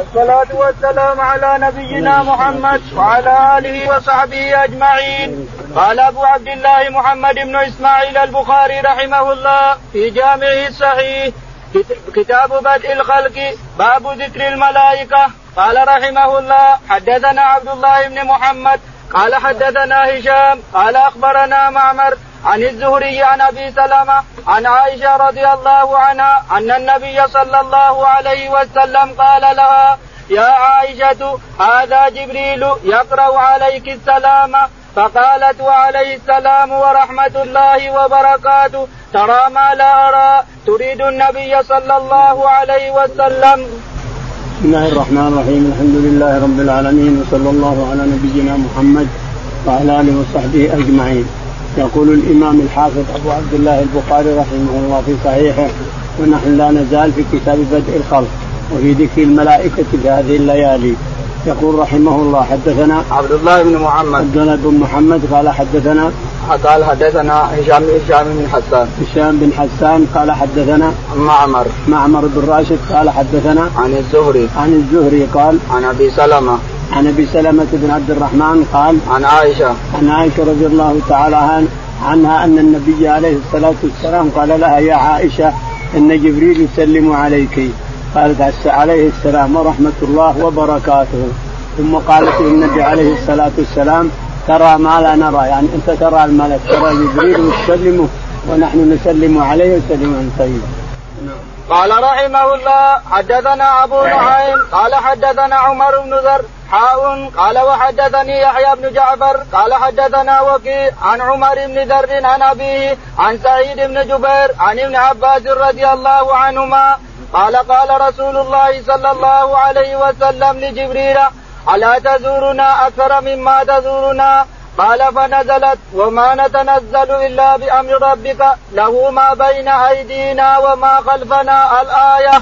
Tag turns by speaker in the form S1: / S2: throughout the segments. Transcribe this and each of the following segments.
S1: الصلاة والسلام على نبينا محمد وعلى آله وصحبه أجمعين قال أبو عبد الله محمد بن إسماعيل البخاري رحمه الله في جامعه الصحيح كتاب بدء الخلق باب ذكر الملائكة قال رحمه الله حدثنا عبد الله بن محمد قال حدثنا هشام قال أخبرنا معمر عن الزهري عن ابي سلمه عن عائشه رضي الله عنها ان النبي صلى الله عليه وسلم قال لها يا عائشه هذا جبريل يقرا عليك السلام فقالت وعليه السلام ورحمه الله وبركاته ترى ما لا ارى تريد النبي صلى الله عليه وسلم.
S2: بسم الله الرحمن الرحيم الحمد لله رب العالمين وصلى الله على نبينا محمد وعلى اله وصحبه اجمعين. يقول الامام الحافظ ابو عبد الله البخاري رحمه الله في صحيحه ونحن لا نزال في كتاب بدء الخلق وفي ذكر الملائكه في هذه الليالي يقول رحمه الله حدثنا
S1: عبد الله بن محمد
S2: عبد الله بن محمد قال حدثنا
S1: قال حدثنا هشام هشام بن حسان
S2: هشام بن حسان قال حدثنا
S1: معمر
S2: معمر بن راشد قال حدثنا
S1: عن الزهري
S2: عن الزهري قال
S1: عن ابي سلمه
S2: عن ابي سلمه بن عبد الرحمن قال
S1: عن عائشه
S2: عن عائشه رضي الله تعالى عن- عنها ان النبي عليه الصلاه والسلام قال لها يا عائشه ان جبريل يسلم عليك قالت "عس- عليه السلام ورحمه الله وبركاته ثم قالت للنبي عليه الصلاه والسلام ترى ما لا نرى يعني انت ترى الملك ترى جبريل يسلمه ونحن نسلم عليه وسلم عن طيب
S1: قال رحمه الله حدثنا ابو نعيم قال حدثنا عمر بن ذر حاء قال وحدثني يحيى بن جعفر قال حدثنا وكيع عن عمر بن ذر عن ابيه عن سعيد بن جبير عن ابن عباس رضي الله عنهما قال قال رسول الله صلى الله عليه وسلم لجبريل الا تزورنا اكثر مما تزورنا قال فنزلت وما نتنزل الا بامر ربك له ما بين ايدينا وما خلفنا الايه.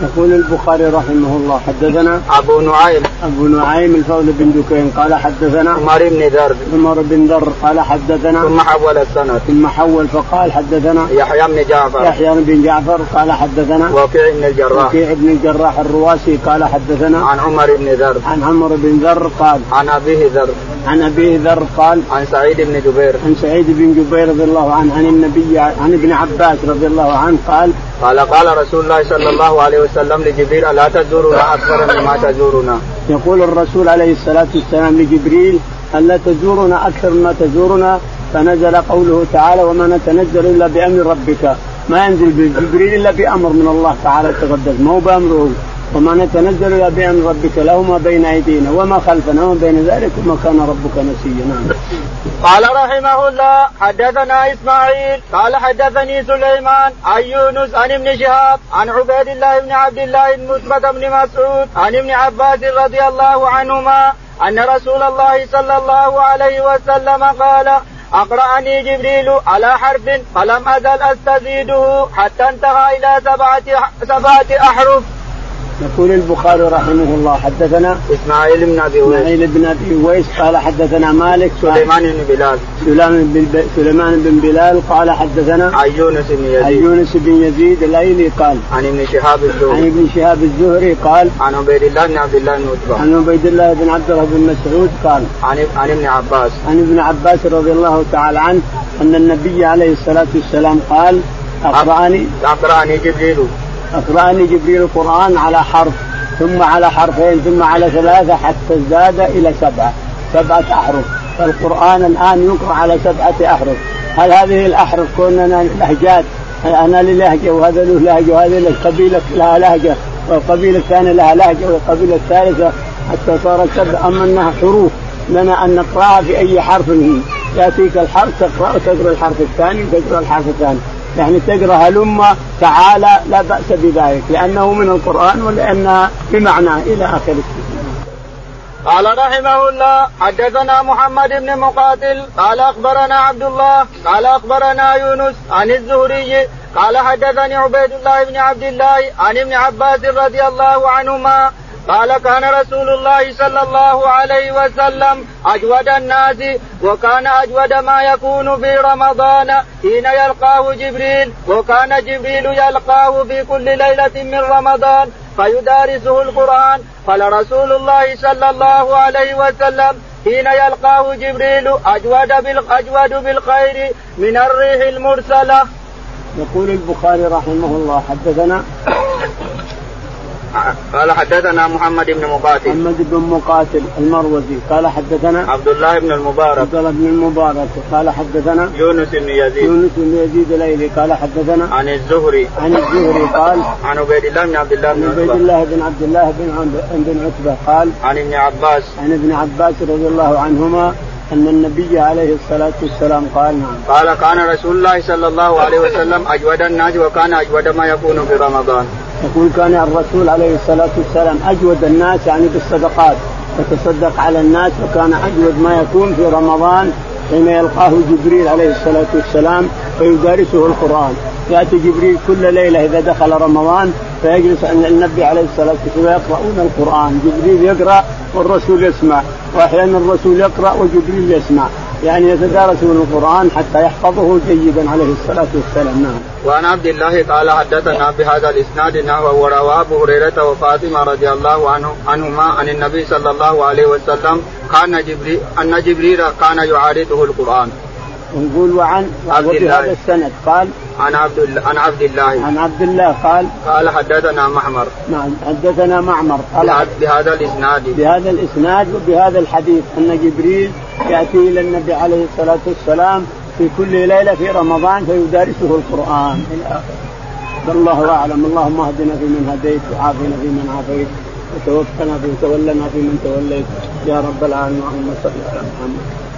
S2: يقول البخاري رحمه الله حدثنا
S1: ابو نعيم
S2: ابو نعيم الفول بن دكين قال حدثنا
S1: عمر بن ذر
S2: عمر بن ذر قال حدثنا
S1: ثم حول السند
S2: ثم حول فقال حدثنا
S1: يحيى بن جعفر
S2: يحيى بن جعفر قال حدثنا
S1: وكيع بن الجراح
S2: وكيع بن الجراح الرواسي قال حدثنا
S1: عن عمر بن ذر
S2: عن عمرو بن ذر قال
S1: عن ابيه ذر
S2: عن ابيه ذر قال
S1: عن سعيد بن جبير
S2: عن سعيد بن جبير رضي الله عنه عن النبي عن ابن عباس رضي الله عنه قال
S1: قال قال رسول الله صلى الله عليه وسلم لجبريل الا تزورنا اكثر مما تزورنا
S2: يقول الرسول عليه الصلاة والسلام لجبريل ألا تزورنا أكثر ما تزورنا فنزل قوله تعالى وما نتنزل إلا بأمر ربك ما ينزل بجبريل إلا بأمر من الله تعالى تقدس ما هو بأمره وما نتنزل إلا بأمر ربك له ما بين أيدينا وما خلفنا وما بين ذلك وما كان ربك نسيا نعم.
S1: قال رحمه الله حدثنا اسماعيل قال حدثني سليمان عن يونس عن ابن شهاب عن عبيد الله بن عبد الله بن مثبت بن مسعود عن ابن عباس رضي الله عنهما ان رسول الله صلى الله عليه وسلم قال اقرأني جبريل على حرف فلم ازل استزيده حتى انتهى الى سبعه سبعه احرف.
S2: يقول البخاري رحمه الله حدثنا
S1: اسماعيل بن ابي ويس
S2: إسماعيل بن أبي ويس قال حدثنا مالك
S1: سليمان بن بلال
S2: سليمان بن- سليمان بن بلال قال حدثنا
S1: عن يونس بن
S2: عن
S1: يزيد
S2: يونس بن يزيد الايلي قال
S1: عن ابن شهاب
S2: عن
S1: الزهري
S2: ابن شهاب الزهري قال
S1: عن عبيد الله بن عبد الله بن عتبه
S2: عن عبيد الله بن عبد الله بن مسعود قال
S1: عن عن ابن عباس
S2: عن ابن عباس رضي الله تعالى عنه ان النبي عليه الصلاه والسلام قال اقراني
S1: اقراني جبريل
S2: اقراني جبريل القران على حرف ثم على حرفين ثم على ثلاثه حتى ازداد الى سبعه سبعه احرف فالقران الان يقرا على سبعه احرف هل هذه الاحرف كوننا لهجات انا لي لهجه وهذا له لهجه وهذه له قبيله لها لهجه والقبيله الثانيه لها لهجه والقبيله الثالثه حتى صارت سبع اما انها حروف لنا ان نقراها في اي حرف هي ياتيك الحرف تقرا تقرا الحرف الثاني وتقرا الحرف الثاني يعني تقرا هلم تعالى لا باس بذلك لانه من القران ولانها بمعناه الى اخره
S1: قال رحمه الله حدثنا محمد بن مقاتل قال اخبرنا عبد الله قال اخبرنا يونس عن الزهري قال حدثني عبيد الله بن عبد الله عن ابن عباس رضي الله عنهما قال كان رسول الله صلى الله عليه وسلم اجود الناس وكان اجود ما يكون في رمضان حين يلقاه جبريل وكان جبريل يلقاه في كل ليله من رمضان فيدارسه القرآن قال رسول الله صلى الله عليه وسلم حين يلقاه جبريل أجود, أجود بالخير من الريح المرسلة
S2: يقول البخاري رحمه الله حدثنا
S1: قال حدثنا محمد بن مقاتل
S2: محمد بن مقاتل المروزي قال حدثنا
S1: عبد الله بن المبارك
S2: عبد الله بن المبارك قال حدثنا
S1: يونس بن يزيد
S2: يونس بن يزيد الايلي قال حدثنا
S1: عن الزهري
S2: عن الزهري قال
S1: عن عبيد الله بن عبد الله
S2: عن
S1: بن
S2: عبيد
S1: عتبة
S2: الله بن عبد الله بن عم- بن عتبه قال
S1: عن ابن عباس
S2: عن ابن عباس رضي الله عنهما ان النبي عليه الصلاه والسلام قال نعم
S1: قال كان رسول الله صلى الله عليه وسلم أجود الناس وكان أجود ما يكون في رمضان
S2: يقول كان الرسول عليه الصلاة والسلام أجود الناس يعني بالصدقات يتصدق على الناس وكان أجود ما يكون في رمضان حين يلقاه جبريل عليه الصلاة والسلام فيدارسه القرآن يأتي جبريل كل ليلة إذا دخل رمضان فيجلس عند النبي عليه الصلاة والسلام يقرؤون القرآن جبريل يقرأ والرسول يسمع وأحيانا الرسول يقرأ وجبريل يسمع يعني يتدارسون القرآن حتى يحفظه جيدا عليه الصلاة والسلام نعم
S1: وعن عبد الله قال حدثنا بهذا الاسناد نحو وروى ابو هريره وفاطمه رضي الله عنه عنهما عن النبي صلى الله عليه وسلم كان جبريل ان جبريل كان يعارضه القرآن
S2: ونقول وعن
S1: عبد الله.
S2: وبهذا السند قال
S1: عن عبد ال- عن عبد الله
S2: عن عبد الله قال
S1: قال حدثنا محمر
S2: نعم حدثنا معمر قال
S1: بهذا- بهذا الاسناد
S2: بهذا الاسناد وبهذا الحديث ان جبريل ياتي الى النبي عليه الصلاه والسلام في كل ليله في رمضان فيدارسه القران الى آخره. الله اعلم اللهم اهدنا فيمن هديت وعافنا فيمن عافيت وتوفنا فيمن تولنا فيمن توليت يا رب العالمين اللهم صل على محمد